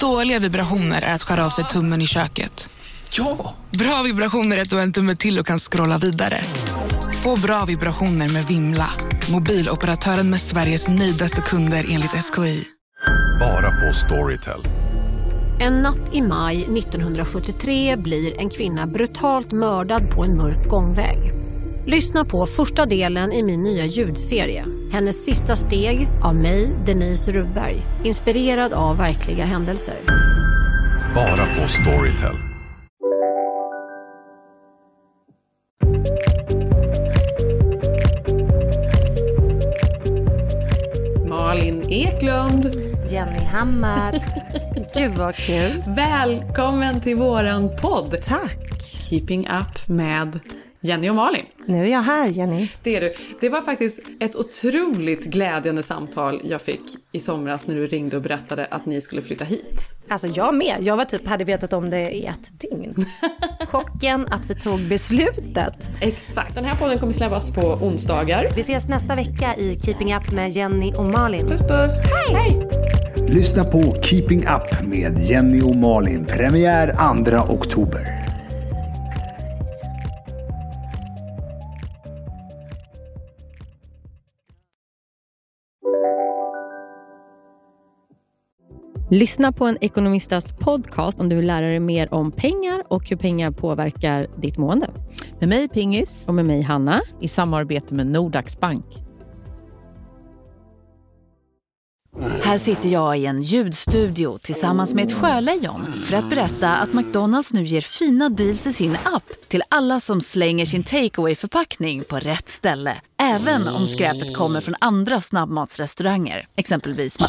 Dåliga vibrationer är att skära av sig tummen i köket. Ja! Bra vibrationer är att du har en tumme till och kan scrolla vidare. Få bra vibrationer med Vimla. Mobiloperatören med Sveriges nöjdaste kunder enligt SKI. Bara på Storytel. En natt i maj 1973 blir en kvinna brutalt mördad på en mörk gångväg. Lyssna på första delen i min nya ljudserie. Hennes sista steg av mig, Denise Rubberg. Inspirerad av verkliga händelser. Bara på Storytel. Malin Eklund. Jenny Hammar. Gud vad kul. Välkommen till våran podd Tack. Keeping Up med Jenny och Malin. Nu är jag här Jenny. Det är du. Det var faktiskt ett otroligt glädjande samtal jag fick i somras när du ringde och berättade att ni skulle flytta hit. Alltså jag med. Jag var typ, hade vetat om det i ett dygn. Chocken att vi tog beslutet. Exakt. Den här podden kommer släppas på onsdagar. Vi ses nästa vecka i Keeping Up med Jenny och Malin. Puss puss! Hej! Lyssna på Keeping Up med Jenny och Malin. Premiär 2 oktober. Lyssna på en ekonomistas podcast om du vill lära dig mer om pengar och hur pengar påverkar ditt mående. Med mig Pingis Och med mig Hanna. i samarbete med Nordax Bank. Här sitter jag i en ljudstudio tillsammans med ett sjölejon för att berätta att McDonalds nu ger fina deals i sin app till alla som slänger sin takeaway förpackning på rätt ställe. Även om skräpet kommer från andra snabbmatsrestauranger, exempelvis Ma-